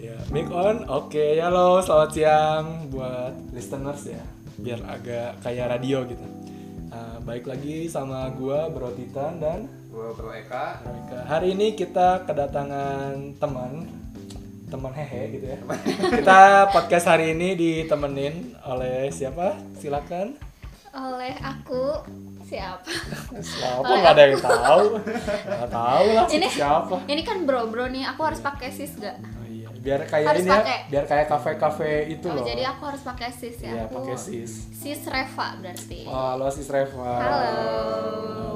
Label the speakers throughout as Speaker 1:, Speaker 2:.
Speaker 1: Ya, Mic on, oke, halo, selamat siang buat listeners ya, biar agak kayak radio gitu. Nah, baik lagi sama gua Bro Titan dan
Speaker 2: Gue Bro Eka
Speaker 1: Royka. Hari ini kita kedatangan teman, teman hehe gitu ya. Kita podcast hari ini ditemenin oleh siapa? Silakan.
Speaker 3: oleh aku siapa
Speaker 1: Siapa nggak ada yang tahu? Nggak tahu lah
Speaker 3: Ini-
Speaker 1: siapa.
Speaker 3: ini kan bro bro nih aku harus pakai sis gak
Speaker 1: Oh iya, biar kayak
Speaker 3: Harus
Speaker 1: ini ya,
Speaker 3: pakai.
Speaker 1: biar kayak kafe-kafe itu
Speaker 3: oh,
Speaker 1: loh.
Speaker 3: jadi aku harus pakai sis
Speaker 1: Iya,
Speaker 3: ya aku
Speaker 1: pakai sis.
Speaker 3: sis Reva berarti
Speaker 1: Wah, halo sis Reva.
Speaker 3: Halo.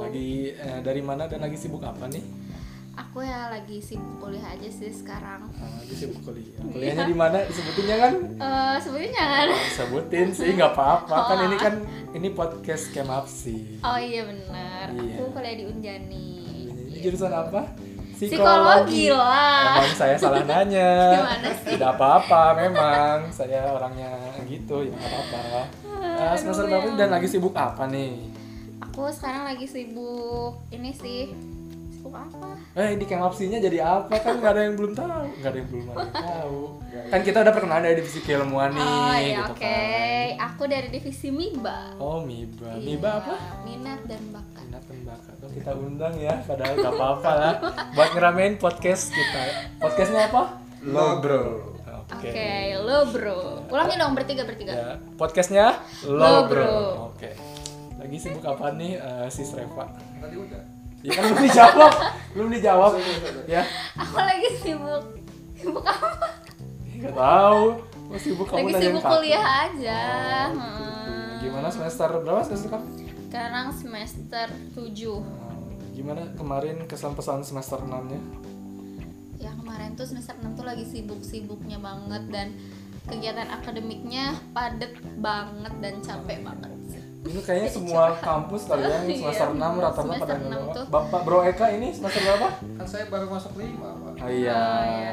Speaker 1: Lagi eh, dari mana dan lagi sibuk apa nih?
Speaker 3: aku ya lagi sibuk kuliah aja sih sekarang
Speaker 1: Ah, lagi sibuk kuliah.
Speaker 3: Iya.
Speaker 1: Kuliahnya di mana? Sebutinnya kan?
Speaker 3: eh sebenarnya jangan
Speaker 1: Sebutin sih nggak apa-apa kan ini kan ini podcast Kemapsi.
Speaker 3: oh iya benar
Speaker 1: Iya.
Speaker 3: aku kuliah di Unjani
Speaker 1: Ini jurusan apa?
Speaker 3: Psikologi lah.
Speaker 1: Emang saya salah nanya.
Speaker 3: Gimana sih?
Speaker 1: Tidak apa-apa memang. Saya orangnya gitu ya nggak apa-apa. Ah, semester
Speaker 3: ya
Speaker 1: berapa dan lagi sibuk apa nih?
Speaker 3: aku sekarang lagi sibuk ini sih sibuk apa
Speaker 1: Eh di kemapsinya jadi apa kan nggak ada yang belum tahu, nggak ada yang belum ada yang tahu. Kan kita udah perkenalan dari divisi keilmuan nih,
Speaker 3: oh iya
Speaker 1: gitu
Speaker 3: oke
Speaker 1: kan.
Speaker 3: aku dari divisi miba
Speaker 1: Oh miba,
Speaker 3: Iya,
Speaker 1: miba apa?
Speaker 3: minat dan bakat
Speaker 1: Minat dan bakat. Oh, kita undang ya, padahal nggak apa-apa lah. Buat ngeramein podcast kita. Podcastnya apa?
Speaker 2: Lo Bro
Speaker 3: Oke, lo bro. Ulangin dong bertiga bertiga.
Speaker 1: Ya, podcastnya
Speaker 3: Lo,
Speaker 1: Lo Bro.
Speaker 3: Bro.
Speaker 1: Oke. Lagi sibuk apa nih eh, sis Reva?
Speaker 2: Tadi udah
Speaker 1: Ya kan belum dijawab, belum dijawab. Ya,
Speaker 3: Aku lagi sibuk. Sibuk apa?
Speaker 1: nggak tahu. Mau sibuk kamu
Speaker 3: lagi
Speaker 1: nanyain
Speaker 3: sibuk
Speaker 1: kakak.
Speaker 3: kuliah aja.
Speaker 1: Oh,
Speaker 3: Heeh.
Speaker 1: gitu. Gimana semester berapa semester kamu?
Speaker 3: Sekarang semester 7
Speaker 1: Gimana kemarin kesan-pesan semester 6-nya?
Speaker 3: Ya kemarin tuh semester 6 tuh lagi sibuk-sibuknya banget dan kegiatan akademiknya padet banget dan capek banget. sih.
Speaker 1: Ini kayaknya semua kampus kali ya, yang semester 6
Speaker 3: Iya,
Speaker 1: rata-rata
Speaker 3: semester
Speaker 1: pada
Speaker 3: enam
Speaker 1: ngomong.
Speaker 3: tuh.
Speaker 1: Bapak Bro Eka ini semester berapa?
Speaker 2: Kan saya baru masuk lima Pak
Speaker 1: Oh
Speaker 3: Oh,
Speaker 1: iya.
Speaker 3: ya.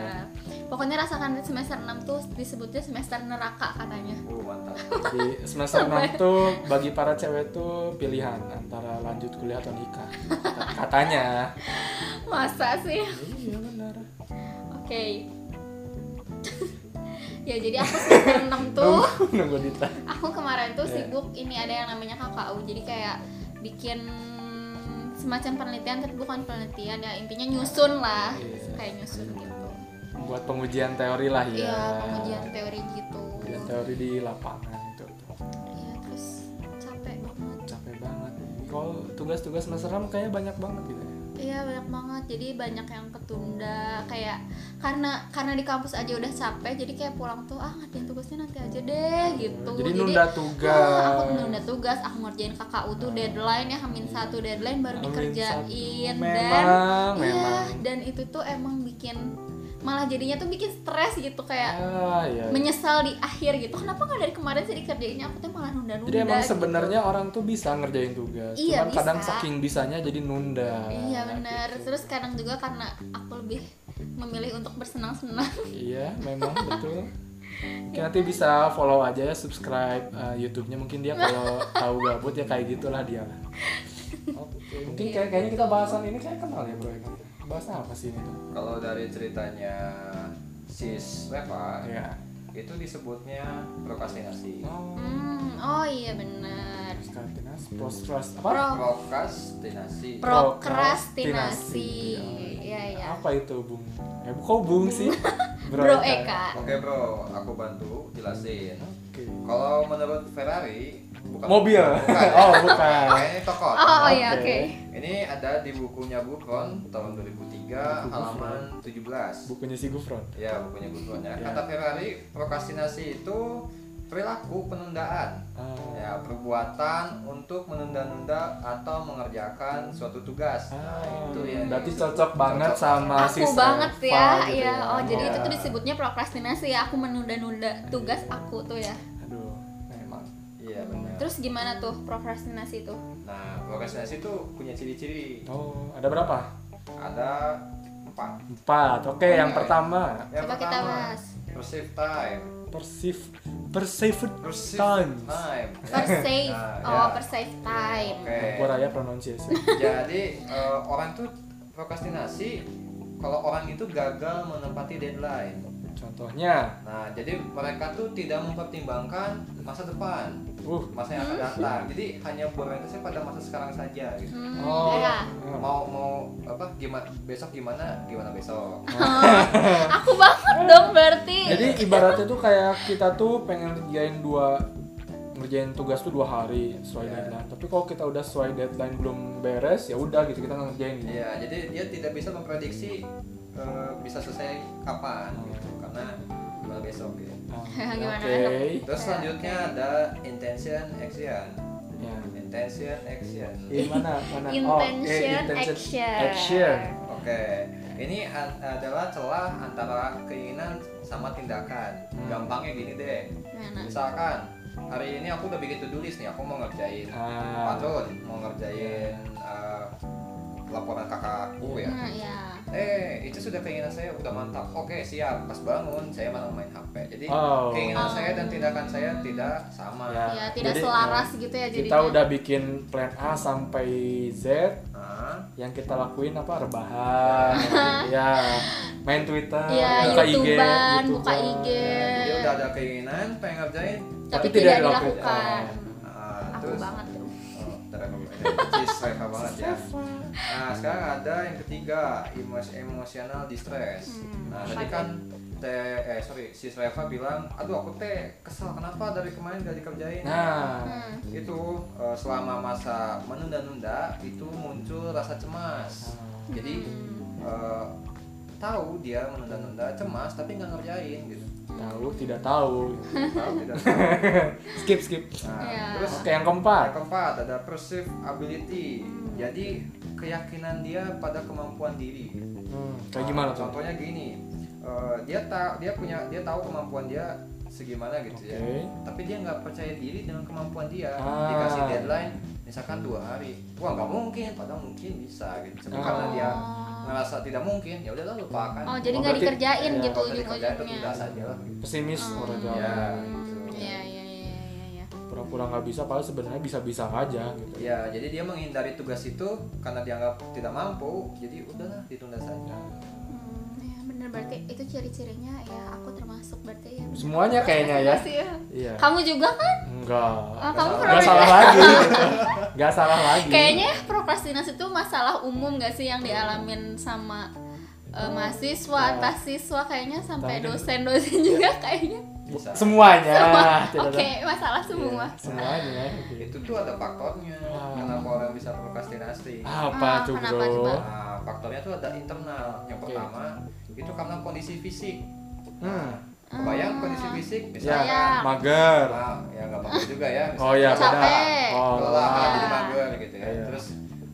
Speaker 3: Pokoknya rasakan semester 6 tuh disebutnya semester neraka katanya.
Speaker 2: Oh mantap
Speaker 1: Di semester 6 tuh bagi para cewek tuh pilihan antara lanjut kuliah atau nikah. Katanya.
Speaker 3: Masa sih?
Speaker 1: Iya benar.
Speaker 3: Oke. ya jadi aku semester 6 tuh
Speaker 1: Nunggu, nunggu Dita.
Speaker 3: aku kemarin tuh
Speaker 1: Iya.
Speaker 3: sibuk ini ada yang namanya KKU. Jadi kayak bikin semacam penelitian tapi bukan penelitian ya intinya nyusun lah.
Speaker 1: Iya.
Speaker 3: Kayak nyusun gitu.
Speaker 1: Buat pengujian teori lah ya.
Speaker 3: Iya, pengujian teori gitu.
Speaker 1: Pengujian teori di lapangan itu.
Speaker 3: Iya, terus capek banget.
Speaker 1: Capek banget. Kalau tugas-tugas semester 6 kayaknya banyak banget gitu ya.
Speaker 3: Iya banyak banget, jadi banyak yang ketunda kayak karena karena di kampus aja udah capek, jadi kayak pulang tuh ah ngerjain tugasnya nanti aja deh gitu.
Speaker 1: Hmm, Jadi nunda tugas. Hmm.
Speaker 3: "Ah, aku nunda tugas, aku ngerjain KKU tuh deadline ya hamin satu deadline baru
Speaker 1: Iya. Hamin
Speaker 3: dikerjain
Speaker 1: satu.
Speaker 3: dan
Speaker 1: Memang,
Speaker 3: iya,
Speaker 1: memang.
Speaker 3: dan itu tuh emang bikin malah jadinya tuh bikin stres gitu kayak
Speaker 1: Ah, iya.
Speaker 3: menyesal di akhir gitu. Kenapa nggak dari kemarin sih dikerjainnya? Aku tuh malah nunda-nunda.
Speaker 1: Jadi emang
Speaker 3: gitu.
Speaker 1: sebenarnya orang tuh bisa ngerjain tugas,
Speaker 3: Iya,
Speaker 1: cuman kadang
Speaker 3: bisa.
Speaker 1: saking bisanya jadi nunda.
Speaker 3: Iya benar.
Speaker 1: Gitu.
Speaker 3: Terus kadang juga karena aku lebih memilih untuk bersenang-senang.
Speaker 1: Iya, memang betul. Oke, nanti bisa follow aja ya, subscribe eh, YouTube-nya mungkin dia kalau tahu gabut ya kayak gitulah dia. lah.
Speaker 2: Oh, gitu.
Speaker 1: Oke, mungkin kayak kayaknya kita bahasan ini kayak kenal ya bro. Eka? Bahasan apa sih ini? tuh?
Speaker 2: Kalau dari ceritanya Sis Reva
Speaker 1: Iya.
Speaker 2: Itu disebutnya prokrastinasi
Speaker 1: Oh,
Speaker 3: Hmm, oh iya benar.
Speaker 1: Prokrastinas, prostras, apa?
Speaker 3: Pro
Speaker 2: Prokrastinasi
Speaker 1: Pro-
Speaker 3: prokrastinasi.
Speaker 1: Prokrastinasi.
Speaker 3: Iya iya.
Speaker 1: Apa itu bung? Eh, kok bung sih? kan.
Speaker 3: Bro Eka.
Speaker 2: Oke bro, aku bantu jelasin
Speaker 1: Oke.
Speaker 2: Kalau menurut Ferrari bukan
Speaker 1: Mobil.
Speaker 2: Bukan
Speaker 1: oh, bukan.
Speaker 2: Ini toko
Speaker 3: Oh, oh iya oke.
Speaker 1: Oke.
Speaker 2: Ini ada di bukunya Buffon tahun 2003 halaman 17
Speaker 1: Bukunya si Gufron.
Speaker 2: Ya, bukunya Buffon ya.
Speaker 1: Ya.
Speaker 2: Kata Ferrari, prokrastinasi itu perilaku penundaan.
Speaker 1: Ah.
Speaker 2: Ya, perbuatan untuk menunda-nunda atau mengerjakan suatu tugas. Nah, itu ya.
Speaker 1: Berarti cocok banget
Speaker 2: Cocok.
Speaker 1: sama
Speaker 3: Aku
Speaker 1: sis
Speaker 3: banget
Speaker 1: Eva
Speaker 3: ya,
Speaker 1: Ah, gitu
Speaker 3: iya. Oh, jadi
Speaker 2: Iya.
Speaker 3: itu tuh disebutnya prokrastinasi ya. Aku menunda-nunda tugas aku tuh ya.
Speaker 1: Aduh, memang.
Speaker 2: Iya, benar.
Speaker 3: Terus gimana tuh prokrastinasi tuh?
Speaker 2: Nah, prokrastinasi itu punya ciri-ciri.
Speaker 1: Oh, ada berapa?
Speaker 2: Ada empat.
Speaker 1: Empat. Oke, yang
Speaker 2: Oke.
Speaker 1: pertama
Speaker 2: Yang
Speaker 3: Coba kita
Speaker 2: pertama,
Speaker 3: bahas.
Speaker 2: perceive time.
Speaker 1: persif persif
Speaker 2: Perceive
Speaker 1: times.
Speaker 2: time.
Speaker 3: Persave.
Speaker 2: Nah, ya.
Speaker 3: Oh, persave time.
Speaker 2: Oke.
Speaker 1: Aku raya pronunciation.
Speaker 2: Jadi eh, orang tuh prokrastinasi kalau orang itu gagal menempati deadline.
Speaker 1: Contohnya,
Speaker 2: Nah, jadi mereka tuh tidak mempertimbangkan masa depan,
Speaker 1: uh,
Speaker 2: masa yang akan datang. Jadi hanya berorientasi pada masa sekarang saja gitu.
Speaker 3: Hmm,
Speaker 1: oh,
Speaker 3: ya.
Speaker 2: Mau mau apa gimana besok gimana gimana besok.
Speaker 3: aku banget dong berarti
Speaker 1: Jadi ibaratnya tuh kayak kita tuh pengen ngerjain dua ngerjain tugas tuh dua hari sesuai
Speaker 2: Iya.
Speaker 1: deadline. Tapi kalau kita udah sesuai deadline belum beres, ya udah gitu kita nggak ngerjain gitu.
Speaker 2: Iya, jadi dia tidak bisa memprediksi eh, bisa selesai kapan gitu karena gimana besok gitu.
Speaker 1: Ah,
Speaker 3: Gimana,
Speaker 1: Oke.
Speaker 2: Terus selanjutnya ada intention action.
Speaker 1: Ya.
Speaker 2: Intention action.
Speaker 1: Ya, Gimana? Mana? Oh, eh,
Speaker 3: intention, action
Speaker 1: action.
Speaker 2: Oke, ini an- adalah celah antara keinginan sama tindakan.
Speaker 1: Hmm. Nah.
Speaker 2: Gampangnya gini deh.
Speaker 3: Gimana?
Speaker 2: Misalkan hari ini aku udah bikin to-do list nih, aku mau ngerjain
Speaker 1: Ah,
Speaker 2: patron, mau ngerjain eh, laporan kakakku ya.
Speaker 3: Nah, ya.
Speaker 2: Eh, itu sudah keinginan saya udah mantap. Oke, siap. Pas bangun saya malah main HP. Jadi
Speaker 1: Oh.
Speaker 2: keinginan
Speaker 3: Oh.
Speaker 2: saya dan tindakan saya tidak sama.
Speaker 1: Ya.
Speaker 3: ya tidak
Speaker 1: Jadi,
Speaker 3: selaras gitu ya jadinya
Speaker 1: kita udah bikin plan A sampai Z
Speaker 2: Nah,
Speaker 1: yang kita lakuin apa rebahan ya main Twitter
Speaker 3: Iya,
Speaker 1: buka IG
Speaker 3: YouTuber,
Speaker 1: YouTuber.
Speaker 3: buka IG.
Speaker 2: jadi udah ada keinginan pengen ngerjain.
Speaker 3: tapi,
Speaker 1: tapi
Speaker 3: tidak,
Speaker 1: tidak dilakukan.
Speaker 3: dilakukan
Speaker 2: Nah,
Speaker 3: aku
Speaker 2: terus
Speaker 3: banget tuh
Speaker 2: Oh, ntar aku- Cis, reva banget ya. Nah, sekarang ada yang ketiga, emos emotional distress.
Speaker 3: Hmm,
Speaker 2: nah,
Speaker 3: apa
Speaker 2: tadi
Speaker 3: tuh?
Speaker 2: kan teh eh sorry, si Reva bilang, "Aduh, aku teh kesel kenapa dari kemarin gak dikerjain?"
Speaker 1: nah
Speaker 3: Hmm.
Speaker 2: Itu eh, selama masa menunda-nunda itu muncul rasa cemas. Jadi
Speaker 3: Hmm.
Speaker 2: eh, tahu dia menunda-nunda, cemas tapi nggak ngerjain gitu.
Speaker 1: tahu tidak tahu
Speaker 2: Tahu tidak tahu.
Speaker 1: skip skip
Speaker 2: Nah,
Speaker 3: Iya.
Speaker 2: terus
Speaker 1: oke yang
Speaker 2: Yang
Speaker 1: keempat
Speaker 2: keempat ada perceived ability.
Speaker 3: Hmm.
Speaker 2: Jadi keyakinan dia pada kemampuan diri.
Speaker 1: hmm, kayak gimana
Speaker 2: Nah,
Speaker 1: tuh
Speaker 2: Contohnya gini, eh, dia tahu dia punya dia tahu kemampuan dia segimana gitu ya.
Speaker 1: Oke.
Speaker 2: Tapi dia nggak percaya diri dengan kemampuan dia.
Speaker 1: Ah.
Speaker 2: Dikasih deadline, misalkan dua hari, wah nggak mungkin, padahal mungkin bisa gitu. Cuma
Speaker 1: Oh.
Speaker 2: karena dia ngerasa tidak mungkin, ya udahlah lupakan.
Speaker 3: oh jadi
Speaker 1: Oh,
Speaker 3: nggak
Speaker 1: berarti-
Speaker 3: dikerjain
Speaker 1: iya,
Speaker 3: gitu
Speaker 2: Kalau tadi kerjaan
Speaker 3: ujung-ujungnya
Speaker 2: tertunda saja lah.
Speaker 1: pesimis orang Jawa
Speaker 2: Ya, gitu.
Speaker 3: Hmm, iya iya iya iya iya.
Speaker 1: pura-pura nggak bisa padahal sebenarnya bisa-bisa aja gitu
Speaker 2: Ya, jadi dia menghindari tugas itu karena dianggap tidak mampu, jadi udahlah
Speaker 1: Nah,
Speaker 2: ditunda saja.
Speaker 3: Hmm, ya bener berarti itu ciri-cirinya ya aku termasuk berarti ya
Speaker 1: semuanya kayaknya ya
Speaker 3: Masih ya.
Speaker 1: iya
Speaker 3: kamu juga kan
Speaker 1: enggak
Speaker 3: Ah,
Speaker 1: nggak
Speaker 2: salah.
Speaker 3: kamu prokrastinasi
Speaker 1: salah lagi nggak salah lagi
Speaker 3: kayaknya prokrastinasi itu masalah umum gak sih yang dialamin sama eh, mahasiswa, atas siswa kayaknya sampai
Speaker 1: Iya. Tapi-
Speaker 3: dosen-dosen juga kayaknya.
Speaker 2: Bisa.
Speaker 1: semuanya tidak
Speaker 3: Oke,
Speaker 1: ada-
Speaker 3: masalah semua.
Speaker 1: Iya, semuanya gitu.
Speaker 2: itu tuh ada faktornya
Speaker 1: Ah.
Speaker 2: kenapa orang bisa prokrastinasi
Speaker 1: apa
Speaker 3: Ah,
Speaker 1: tuh
Speaker 3: kenapa
Speaker 1: bro
Speaker 3: coba?
Speaker 2: Nah, faktornya tuh ada internal yang
Speaker 1: Oke.
Speaker 2: pertama itu karena kondisi fisik Nah,
Speaker 1: hmm.
Speaker 2: kebayang kondisi fisik
Speaker 1: ya
Speaker 2: misalnya
Speaker 1: mager
Speaker 2: nah, ya nggak bagus juga ya
Speaker 1: oh ya beda
Speaker 2: Misalnya
Speaker 3: Ah. Capek.
Speaker 1: oh
Speaker 2: lelah
Speaker 3: Iya.
Speaker 2: jadi mager gitu ya
Speaker 1: Iya.
Speaker 2: terus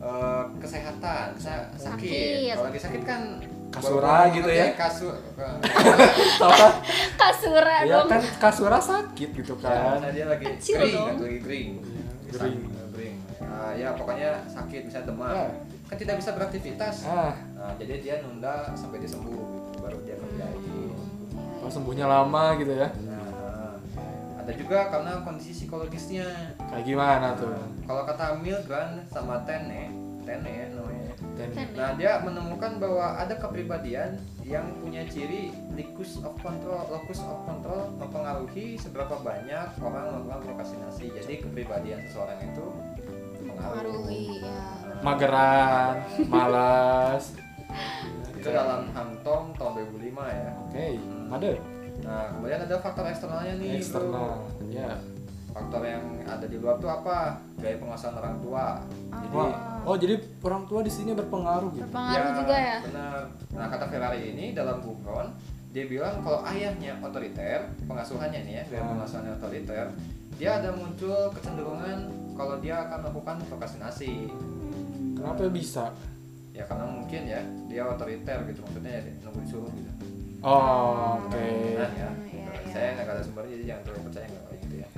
Speaker 2: eh, kesehatan sa- sakit.
Speaker 3: Sakit.
Speaker 2: kalau lagi sakit kan
Speaker 1: Kasura
Speaker 2: walaupun
Speaker 1: gitu
Speaker 2: ngerti
Speaker 1: ya.
Speaker 2: kasur eh,
Speaker 1: Apa?
Speaker 3: Kasura
Speaker 1: ya
Speaker 3: dong.
Speaker 1: kan kasura sakit gitu kan
Speaker 2: misalnya dia lagi
Speaker 3: Kecil
Speaker 2: kering
Speaker 3: dong.
Speaker 2: lagi kering
Speaker 1: Iya,
Speaker 2: Misalnya,
Speaker 1: kering.
Speaker 2: eh, kering Ah, ya pokoknya sakit misalnya demam
Speaker 1: Ya.
Speaker 2: kan tidak bisa beraktivitas
Speaker 1: ah
Speaker 2: Nah, jadi dia nunda sampai dia sembuh gitu, baru dia
Speaker 3: Hmm.
Speaker 2: kerjain.
Speaker 1: pas sembuhnya lama gitu ya
Speaker 2: Nah, ada juga karena kondisi psikologisnya.
Speaker 1: kayak gimana tuh
Speaker 2: Nah, kalau kata Milgram sama Tene, Tene ya namanya.
Speaker 1: Dan-
Speaker 2: Nah, dia menemukan bahwa ada kepribadian yang punya ciri locus of control, locus of control mempengaruhi seberapa banyak orang melakukan prokrastinasi. Jadi kepribadian seseorang itu mempengaruhi. Nah,
Speaker 3: Mengaruhi ya.
Speaker 1: mageran malas
Speaker 2: Itu dalam Hamtom tahun 2005 ya.
Speaker 1: oke ada
Speaker 2: Nah, kemudian ada faktor eksternalnya nih, Bro.
Speaker 1: eksternal ya
Speaker 2: Faktor yang ada di luar tuh apa? Gaya penguasaan orang tua. Jadi
Speaker 1: Wah. oh jadi orang tua di sini berpengaruh gitu
Speaker 3: Berpengaruh juga ya.
Speaker 2: Benar. Nah, kata Ferrari ini dalam bukuan dia bilang kalau ayahnya otoriter, pengasuhannya nih ya, gaya
Speaker 1: Hmm.
Speaker 2: pengasuhannya otoriter, dia ada muncul kecenderungan kalau dia akan melakukan prokrastinasi.
Speaker 1: kenapa bisa
Speaker 2: Ya karena mungkin ya, dia otoriter gitu maksudnya ya nunggu disuruh gitu.
Speaker 1: oh, oke
Speaker 2: Nah, ya.
Speaker 3: iya, iya.
Speaker 2: Saya nggak ada sumbernya jadi jangan terlalu percaya nggak kayak gitu ya.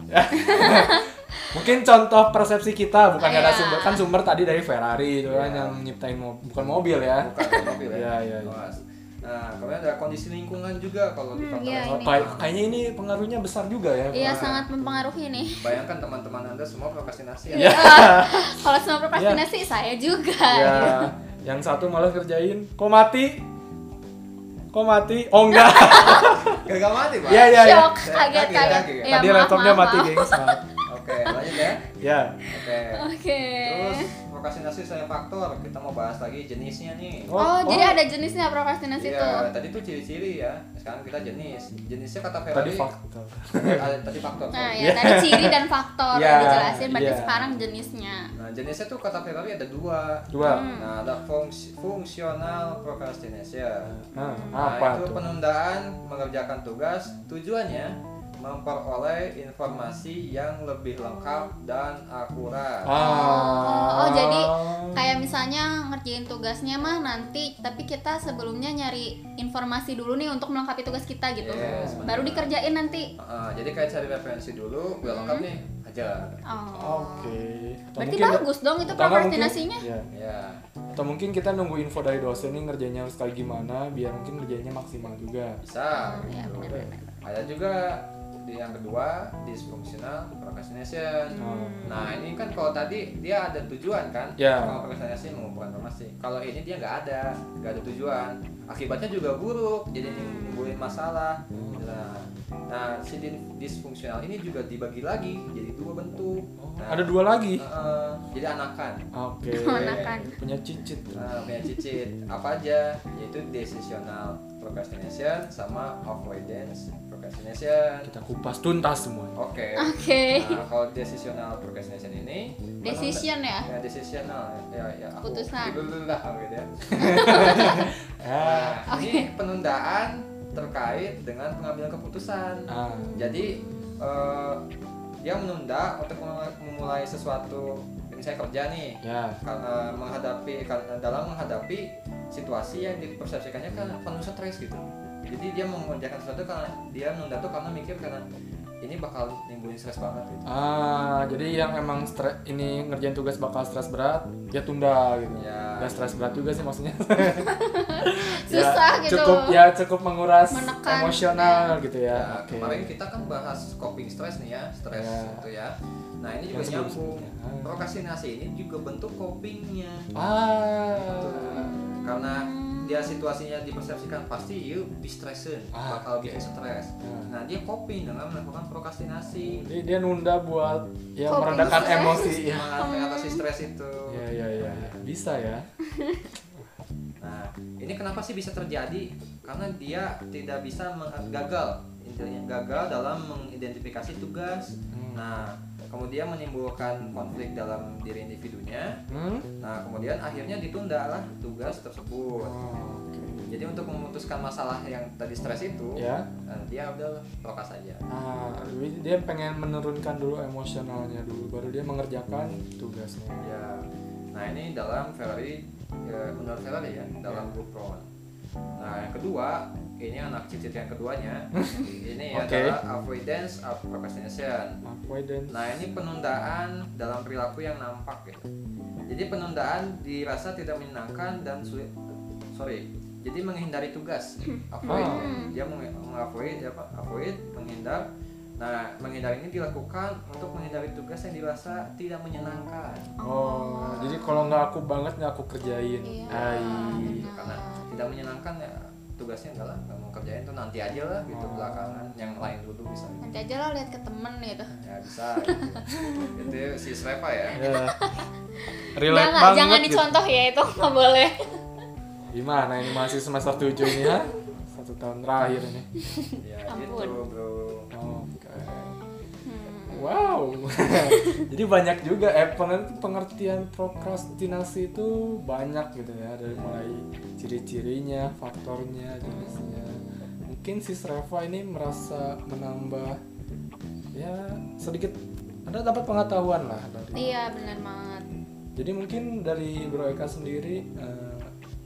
Speaker 1: mungkin contoh persepsi kita bukan nggak ada
Speaker 3: Iya.
Speaker 1: sumber kan sumber tadi dari Ferrari itu kan
Speaker 2: Iya.
Speaker 1: yang nyiptain mo- bukan mobil ya
Speaker 2: bukan dari mobil ya.
Speaker 1: Iya, iya, iya.
Speaker 2: Awas. Nah, kemudian ada kondisi lingkungan juga kalau di
Speaker 3: Hmm,
Speaker 2: faktor
Speaker 3: iya,
Speaker 2: eksternal.
Speaker 1: Oh, kayak- kayaknya ini pengaruhnya besar juga ya
Speaker 3: Iya,
Speaker 2: Wah.
Speaker 3: sangat mempengaruhi nih.
Speaker 2: Bayangkan teman-teman Anda semua prokrastinasi ya.
Speaker 3: Iya. Kalau sama prokrastinasi saya juga.
Speaker 1: Iya. ya yang satu malas kerjain kok mati kok mati oh enggak
Speaker 2: Gagal mati pak.
Speaker 1: ya ya ya
Speaker 3: Shock,
Speaker 2: Saya
Speaker 3: kaget,
Speaker 2: kaget,
Speaker 3: kaget.
Speaker 2: kaget.
Speaker 3: Ya,
Speaker 1: tadi
Speaker 3: maaf,
Speaker 1: laptopnya
Speaker 3: maaf,
Speaker 1: mati
Speaker 3: maaf.
Speaker 1: gengs maaf.
Speaker 2: Oke lanjut ya.
Speaker 1: ya
Speaker 2: Oke.
Speaker 3: Oke.
Speaker 2: Terus prokrastinasi saya faktor kita mau bahas lagi jenisnya nih.
Speaker 3: Oh,
Speaker 1: Oh, oh.
Speaker 3: jadi ada jenisnya prokrastinasi
Speaker 2: Iya,
Speaker 3: tuh.
Speaker 2: tadi tuh ciri-ciri ya. Sekarang kita jenis. Jenisnya kata
Speaker 1: tadi
Speaker 2: Ferrari.
Speaker 1: faktor
Speaker 2: ada tadi faktor.
Speaker 3: Nah,
Speaker 2: sorry.
Speaker 3: ya tadi ciri dan faktor
Speaker 1: Ya,
Speaker 3: yang dijelasin berarti
Speaker 1: iya.
Speaker 3: sekarang jenisnya.
Speaker 2: Nah, jenisnya tuh kata Ferrari ada dua.
Speaker 1: dua
Speaker 3: Hmm.
Speaker 2: Nah, ada fungs fungsional procrastination.
Speaker 1: Nah,
Speaker 2: Nah,
Speaker 1: apa tuh
Speaker 2: itu penundaan mengerjakan tugas. Tujuannya memperoleh informasi yang lebih lengkap dan akurat.
Speaker 1: ah
Speaker 3: Oh, jadi Kayak misalnya ngerjain tugasnya mah nanti, tapi kita sebelumnya nyari informasi dulu nih untuk melengkapi tugas kita gitu.
Speaker 2: Yes,
Speaker 3: Baru
Speaker 2: benar.
Speaker 3: dikerjain nanti.
Speaker 2: Ah, jadi kayak cari referensi dulu, udah lengkap
Speaker 3: Hmm.
Speaker 2: nih, aja.
Speaker 3: Oh.
Speaker 1: oke Atau
Speaker 3: Berarti
Speaker 1: mungkin-
Speaker 3: bagus dong itu
Speaker 1: atau enggak mungkin-
Speaker 3: prokrastinasinya.
Speaker 1: Iya.
Speaker 2: Ya.
Speaker 1: atau mungkin kita nunggu info dari dosen nih ngerjainnya harus kayak gimana biar mungkin ngerjainnya maksimal juga
Speaker 2: bisa
Speaker 3: Oh, iya,
Speaker 2: gitu.
Speaker 3: benar-benar.
Speaker 2: ada juga di yang kedua dysfunctional procrastination
Speaker 3: Hmm.
Speaker 2: nah ini kan kalau tadi dia ada tujuan kan
Speaker 1: Ya.
Speaker 2: kalau procrastination mengumpulkan informasi kalau ini dia nggak ada nggak ada tujuan akibatnya juga buruk jadi nimbulin masalah nah nah si din- dysfunctional ini juga dibagi lagi jadi dua bentuk Nah,
Speaker 1: ada dua lagi
Speaker 2: eh, jadi anakan
Speaker 1: oke
Speaker 3: Menekan.
Speaker 1: punya cicit
Speaker 2: Nah, punya cicit apa aja yaitu decisional procrastination sama avoidance procrastination
Speaker 1: kita kupas tuntas semuanya
Speaker 2: Oke.
Speaker 3: Oke.
Speaker 2: Nah, kalau decisional procrastination ini
Speaker 3: Decision ya.
Speaker 2: ya decisional ya ya aku
Speaker 3: Putusan.
Speaker 2: Belah, gitu ya.
Speaker 1: ah,
Speaker 2: Nah, ini penundaan terkait dengan pengambilan keputusan.
Speaker 1: ah.
Speaker 2: Jadi eh, dia menunda untuk memulai- memulai sesuatu misalnya kerja nih
Speaker 1: ya
Speaker 2: karena Eh, menghadapi karena dalam menghadapi situasi yang dipersepsikannya kan penuh stres gitu jadi dia mau mengerjakan sesuatu karena dia menunda tuh karena mikir karena ini bakal nimbulin stres banget gitu
Speaker 1: ah jadi yang emang stre- ini ngerjain tugas bakal stres berat ya tunda gitu
Speaker 2: Ya.
Speaker 1: nggak stres berat juga sih maksudnya Ya,
Speaker 3: Susah gitu.
Speaker 1: cukup ya cukup menguras
Speaker 3: Menekan.
Speaker 1: emosional gitu ya
Speaker 2: Nah,
Speaker 1: oke
Speaker 2: kemarin kita kan bahas coping stress nih ya stres
Speaker 1: Ya.
Speaker 2: itu ya nah
Speaker 1: Yang
Speaker 2: ini juga nyambung
Speaker 1: sebelum-sebelumnya. Ah.
Speaker 2: prokrastinasi ini juga bentuk copingnya Gitu.
Speaker 1: ah
Speaker 2: karena dia situasinya dipersepsikan pasti you be stressin
Speaker 1: Ah,
Speaker 2: bakal
Speaker 1: oke.
Speaker 2: bikin stres
Speaker 1: Ya.
Speaker 2: nah dia coping dengan melakukan prokrastinasi
Speaker 1: Jadi dia nunda buat ya
Speaker 3: Coping
Speaker 1: meredakan
Speaker 3: stress.
Speaker 1: emosi ya.
Speaker 2: Semangat mengatasi stres itu.
Speaker 1: Ya ya ya, ya. bisa ya.
Speaker 2: Nah, ini kenapa sih bisa terjadi? Karena dia tidak bisa meng- gagal, intinya gagal dalam mengidentifikasi tugas.
Speaker 1: Hmm.
Speaker 2: Nah, kemudian menimbulkan konflik dalam diri individunya.
Speaker 1: Hmm?
Speaker 2: Nah, kemudian akhirnya ditunda lah tugas tersebut.
Speaker 1: Oh, oke.
Speaker 2: Jadi untuk memutuskan masalah yang tadi stres itu,
Speaker 1: Ya.
Speaker 2: eh, dia udah prokas aja.
Speaker 1: Ah, jadi dia pengen menurunkan dulu emosionalnya dulu, baru dia mengerjakan tugasnya.
Speaker 2: Ya. Nah, ini dalam Ferrari ya, menurut Ferrari ya, dalam blueprint. Nah, yang kedua, ini anak cicit yang keduanya. ini
Speaker 1: Oke.
Speaker 2: adalah avoidance of procrastination.
Speaker 1: Avoidance.
Speaker 2: Nah, ini penundaan dalam perilaku yang nampak gitu. Jadi penundaan dirasa tidak menyenangkan dan sulit sorry. Jadi menghindari tugas, avoid. ya. Dia meng- mengavoid ya Pak, avoid, menghindar. Nah, menghindar ini dilakukan untuk menghindari tugas yang dirasa tidak menyenangkan.
Speaker 1: Oh, jadi kalau nggak aku banget nggak aku kerjain.
Speaker 3: Iya,
Speaker 1: Ai.
Speaker 3: benar.
Speaker 2: karena tidak menyenangkan ya tugasnya enggak lah nggak mau kerjain tuh nanti aja lah
Speaker 3: Oh.
Speaker 2: gitu belakangan yang lain dulu bisa
Speaker 3: Nanti aja lah lihat ke temen gitu.
Speaker 2: ya bisa gitu. itu si Sreva ya
Speaker 1: Ya. Relate
Speaker 3: Jangan,
Speaker 1: banget.
Speaker 3: jangan
Speaker 1: gitu.
Speaker 3: dicontoh ya itu nggak boleh.
Speaker 1: Gimana ini masih semester 7 ini ya? Satu tahun terakhir ini.
Speaker 2: ya
Speaker 3: Ampun.
Speaker 2: gitu bro
Speaker 1: Oke.
Speaker 3: Hmm.
Speaker 1: Wow. Jadi banyak juga eh pen- pengertian prokrastinasi itu banyak gitu ya dari mulai ciri-cirinya, faktornya, jenisnya. Mungkin si Reva ini merasa menambah ya sedikit ada dapat pengetahuan lah dari.
Speaker 3: Iya benar banget.
Speaker 1: Jadi mungkin dari Bro Eka sendiri eh,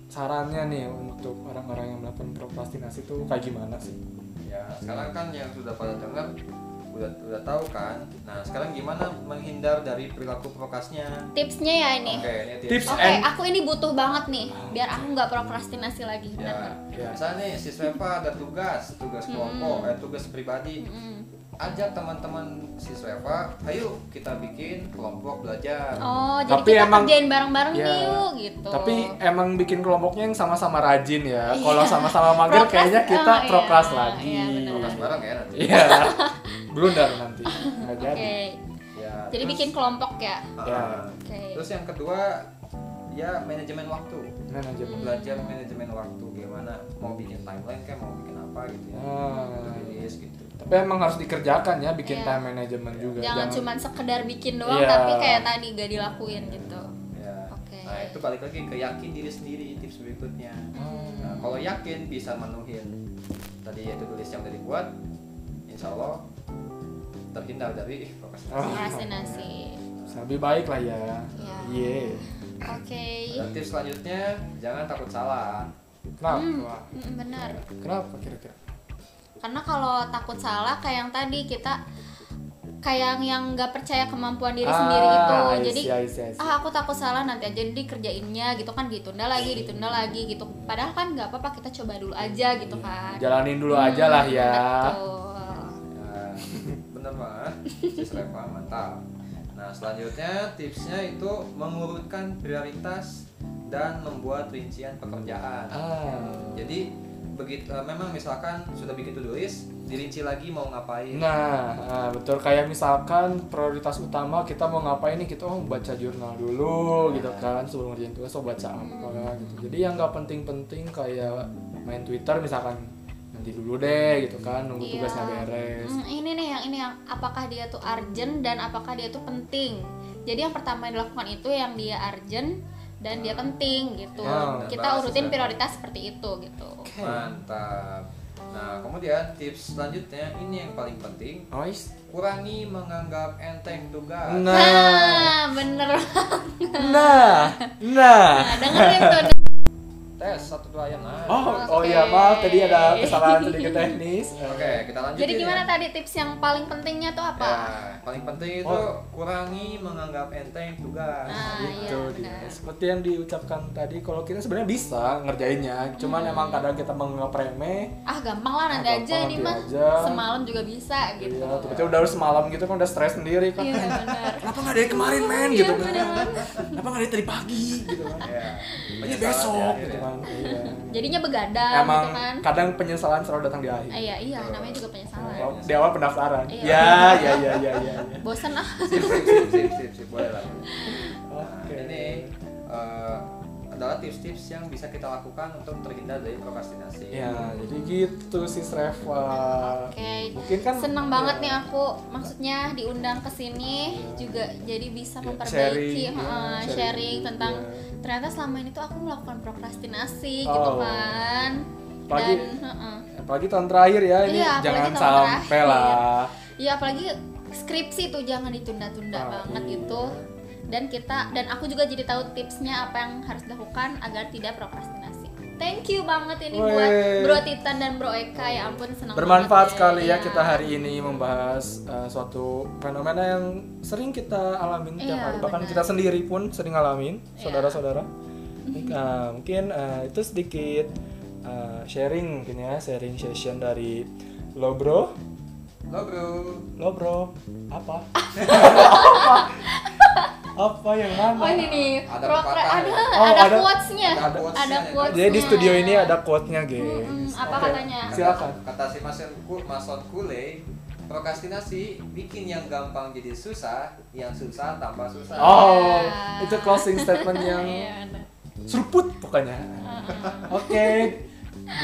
Speaker 1: sarannya nih untuk orang-orang yang melakukan prokrastinasi itu kayak gimana sih?
Speaker 2: ya sekarang kan yang sudah pada dengar udah udah tahu kan nah sekarang gimana menghindar dari perilaku prokasnya
Speaker 3: Tipsnya ya ini.
Speaker 2: oke ini
Speaker 1: Tips
Speaker 2: tips
Speaker 3: Oke,
Speaker 1: and-
Speaker 3: aku ini butuh banget nih biar aku nggak prokrastinasi lagi.
Speaker 2: ya
Speaker 1: Ya.
Speaker 3: Hmm.
Speaker 2: misalnya nih si Sreva ada tugas tugas kelompok eh tugas pribadi
Speaker 3: Mm.
Speaker 2: ajak teman-teman siswa Eva, ayo kita bikin kelompok belajar.
Speaker 3: Oh, jadi
Speaker 1: Tapi
Speaker 3: kita
Speaker 1: emang-
Speaker 3: kerjain bareng-bareng
Speaker 1: Ya.
Speaker 3: nih yuk gitu.
Speaker 1: Tapi emang bikin kelompoknya yang sama-sama rajin ya. Kalau
Speaker 3: Iya.
Speaker 1: sama-sama mager
Speaker 3: Prokras-
Speaker 1: kayaknya kita
Speaker 3: oh, iya.
Speaker 1: prokras lagi.
Speaker 3: Iya, benar.
Speaker 2: Kelas bareng ya nanti.
Speaker 1: Iya. Blunder nanti. Nggak
Speaker 3: Oke.
Speaker 1: jadi.
Speaker 2: Ya,
Speaker 3: Jadi
Speaker 2: terus-
Speaker 3: bikin kelompok ya.
Speaker 2: Ah,
Speaker 1: Ya.
Speaker 3: Oke.
Speaker 2: Terus yang kedua ya manajemen waktu.
Speaker 1: Nah, aja.
Speaker 3: Hmm.
Speaker 2: belajar manajemen waktu gimana mau bikin timeline kayak mau bikin apa gitu ya
Speaker 1: Ah.
Speaker 2: rilis gitu
Speaker 1: Tapi emang harus dikerjakan ya bikin
Speaker 3: Iya.
Speaker 1: time management juga.
Speaker 3: Jangan cuman sekedar bikin doang
Speaker 1: Iya.
Speaker 3: tapi kayak tadi gak dilakuin gitu.
Speaker 2: ya
Speaker 3: Oke.
Speaker 2: nah itu balik lagi ke yakin diri sendiri tips berikutnya
Speaker 1: Hmm,
Speaker 3: Hmm.
Speaker 2: nah, kalau yakin bisa menuhin tadi itu tulis yang udah dibuat insya Allah terhindar dari
Speaker 1: Oh.
Speaker 2: prokrastinasi
Speaker 3: Prokrastinasi.
Speaker 1: Lebih baik lah ya.
Speaker 3: Iya.
Speaker 1: Iya.
Speaker 3: Oke.
Speaker 2: dan tips selanjutnya jangan takut salah
Speaker 1: Kenapa?
Speaker 3: Hmm, mm, benar.
Speaker 1: Kenapa kira-kira?
Speaker 3: Karena kalau takut salah kayak yang tadi kita kayak yang nggak percaya kemampuan diri sendiri gitu.
Speaker 1: Ah, I
Speaker 3: Jadi
Speaker 1: see, I see, I see.
Speaker 3: ah aku takut salah nanti aja jadi kerjainnya gitu kan ditunda lagi ditunda lagi gitu padahal kan nggak apa-apa kita coba dulu aja gitu kan
Speaker 1: Jalanin dulu aja lah ya.
Speaker 3: Betul.
Speaker 2: ya, bener banget tips Reva mantap nah selanjutnya tipsnya itu mengurutkan prioritas dan membuat rincian pekerjaan
Speaker 1: Ah.
Speaker 2: Jadi begitu eh, memang misalkan sudah bikin to-do list, dirinci lagi mau ngapain.
Speaker 1: Nah, ah, betul kayak misalkan prioritas utama kita mau ngapain nih kita oh, baca jurnal
Speaker 3: Iya.
Speaker 1: dulu gitu kan sebelum ngerjain tugas oh baca
Speaker 3: Hmm.
Speaker 1: apa gitu. Jadi yang nggak penting-penting kayak main Twitter misalkan nanti dulu deh gitu kan nunggu tugasnya
Speaker 3: Iya.
Speaker 1: beres.
Speaker 3: Hmm, ini nih yang ini yang apakah dia tuh urgent dan apakah dia tuh penting. Jadi yang pertama yang dilakukan itu yang dia urgent dan dia penting gitu.
Speaker 1: Ya,
Speaker 2: bahas
Speaker 3: Kita
Speaker 2: sesuai.
Speaker 3: urutin prioritas seperti itu gitu.
Speaker 2: Mantap. Nah, kemudian tips selanjutnya ini yang paling penting,
Speaker 1: Noise.
Speaker 2: kurangi menganggap enteng tugas.
Speaker 1: Nah,
Speaker 3: Nah, bener.
Speaker 1: nah, nah.
Speaker 3: Nah, dengerin tuh.
Speaker 2: Tes satu dua ayam. Nah.
Speaker 1: Oh, oh iya maaf tadi ada kesalahan sedikit teknis.
Speaker 2: Oke, kita lanjutin.
Speaker 3: Jadi gimana
Speaker 2: ya.
Speaker 3: tadi tips yang paling pentingnya tuh
Speaker 2: Ya,
Speaker 3: apa?
Speaker 2: paling penting itu
Speaker 1: Oh.
Speaker 2: kurangi menganggap enteng tugas.
Speaker 3: Nah, iya
Speaker 1: gitu dia.
Speaker 3: benar.
Speaker 1: Seperti yang diucapkan tadi, kalau kita sebenarnya bisa ngerjainnya, cuman
Speaker 3: Hmm.
Speaker 1: emang kadang kita menganggap remeh.
Speaker 3: Ah, gampang lah nanti
Speaker 1: Ah,
Speaker 3: aja
Speaker 1: gampang,
Speaker 3: ini
Speaker 1: nanti
Speaker 3: mah.
Speaker 1: aja.
Speaker 3: Semalam juga bisa gitu.
Speaker 1: Iya, tiba-tiba udah harus semalam gitu kan udah stres sendiri kan.
Speaker 3: Iya, benar.
Speaker 1: Kenapa nggak dari kemarin men
Speaker 3: Iya,
Speaker 1: gitu kan?
Speaker 3: bener.
Speaker 1: Kenapa nggak dari tadi pagi gitu kan?
Speaker 2: Ya.
Speaker 1: Ini
Speaker 2: penyesalan
Speaker 1: besok
Speaker 2: di akhir
Speaker 1: gitu
Speaker 2: ya.
Speaker 1: kan. Iya.
Speaker 3: Jadinya begadang
Speaker 1: Emang
Speaker 3: gitu kan.
Speaker 1: kadang penyesalan selalu datang di akhir.
Speaker 3: Ah, iya, iya, namanya juga penyesalan.
Speaker 1: Kalau Di awal pendaftaran.
Speaker 3: Iya.
Speaker 1: Ya, ya, ya, ya, ya. ya.
Speaker 3: bosen ah
Speaker 2: sip sip sip sip sip, sip. boleh lah Nah,
Speaker 1: Oke.
Speaker 2: ini eh, adalah tips-tips yang bisa kita lakukan untuk terhindar dari prokrastinasi
Speaker 1: Ya, jadi gitu sih Reva.
Speaker 3: oke
Speaker 1: Mungkin kan ya,
Speaker 3: seneng banget nih aku maksudnya diundang ke sini juga jadi bisa
Speaker 1: Ya,
Speaker 3: memperbaiki
Speaker 1: sharing, ya,
Speaker 3: eh, sharing,
Speaker 1: sharing,
Speaker 3: tentang
Speaker 1: ya.
Speaker 3: ternyata selama ini tuh aku melakukan prokrastinasi
Speaker 1: Oh.
Speaker 3: gitu kan
Speaker 1: Apalagi-
Speaker 3: dan heeh.
Speaker 1: Apalagi tahun terakhir ya ini
Speaker 3: Iya, apalagi
Speaker 1: jangan
Speaker 3: tahun
Speaker 1: sampai
Speaker 3: terakhir.
Speaker 1: lah.
Speaker 3: ya apalagi skripsi tuh jangan
Speaker 1: Ah,
Speaker 3: ditunda-tunda banget
Speaker 1: iya.
Speaker 3: gitu dan kita dan aku juga jadi tahu tipsnya apa yang harus dilakukan agar tidak prokrastinasi thank you banget ini buat
Speaker 1: Weh.
Speaker 3: Bro Titan dan Bro Eka ya ampun senang
Speaker 1: Bermanfaat
Speaker 3: banget
Speaker 1: sekali ya kita
Speaker 3: Iya.
Speaker 1: hari ini membahas uh, suatu fenomena yang sering kita alamin tiap
Speaker 3: Iya,
Speaker 1: hari. Bahkan
Speaker 3: benar.
Speaker 1: kita sendiri pun sering alamin,
Speaker 3: Iya. Mm-hmm.
Speaker 1: saudara-saudara. Nah, mungkin uh, itu sedikit uh, sharing mungkin ya, sharing session dari lo bro,
Speaker 2: lo bro
Speaker 1: lo bro, apa? apa? Apa yang mana?
Speaker 3: Oh ini nih,
Speaker 2: Ada
Speaker 3: prokra-
Speaker 2: pepatah
Speaker 3: ada,
Speaker 2: ya?
Speaker 1: Oh,
Speaker 3: ada,
Speaker 1: ada-
Speaker 3: quotes-nya.
Speaker 2: ada quotes-nya
Speaker 3: Ada
Speaker 2: ya.
Speaker 3: quotes.
Speaker 1: Jadi di studio ini ada quote-nya, guys.
Speaker 3: Mm-mm, apa
Speaker 1: Oke,
Speaker 3: katanya? Iya.
Speaker 1: Silakan.
Speaker 2: kata si Mason Ku- Mason Kule prokrastinasi bikin yang gampang jadi susah yang susah tambah susah
Speaker 1: Oh,
Speaker 3: Iya.
Speaker 1: itu closing statement yang
Speaker 3: Iya, ada.
Speaker 1: seruput pokoknya. Oke,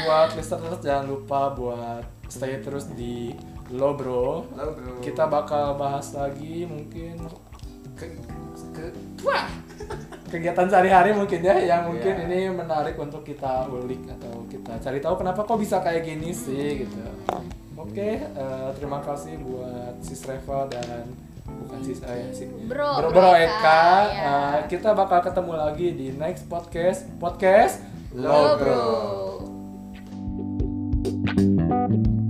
Speaker 1: buat listeners jangan lupa buat stay terus di Lo Bro.
Speaker 2: lo bro
Speaker 1: Kita bakal bahas lagi mungkin ke- ke- wah, kegiatan sehari-hari mungkin ya yang mungkin
Speaker 2: Iya.
Speaker 1: ini menarik untuk kita ulik atau kita cari tahu kenapa kok bisa kayak gini
Speaker 3: Hmm.
Speaker 1: sih gitu. Oke, eh, terima kasih buat Sis Reva dan bukan Sis eh, si-
Speaker 3: Bro-
Speaker 1: Bro,
Speaker 3: Bro
Speaker 1: Bro
Speaker 3: Eka,
Speaker 1: Eka.
Speaker 3: ya.
Speaker 1: Eh, kita bakal ketemu lagi di next podcast podcast
Speaker 2: Lo
Speaker 3: Lo
Speaker 2: Bro.
Speaker 3: bro.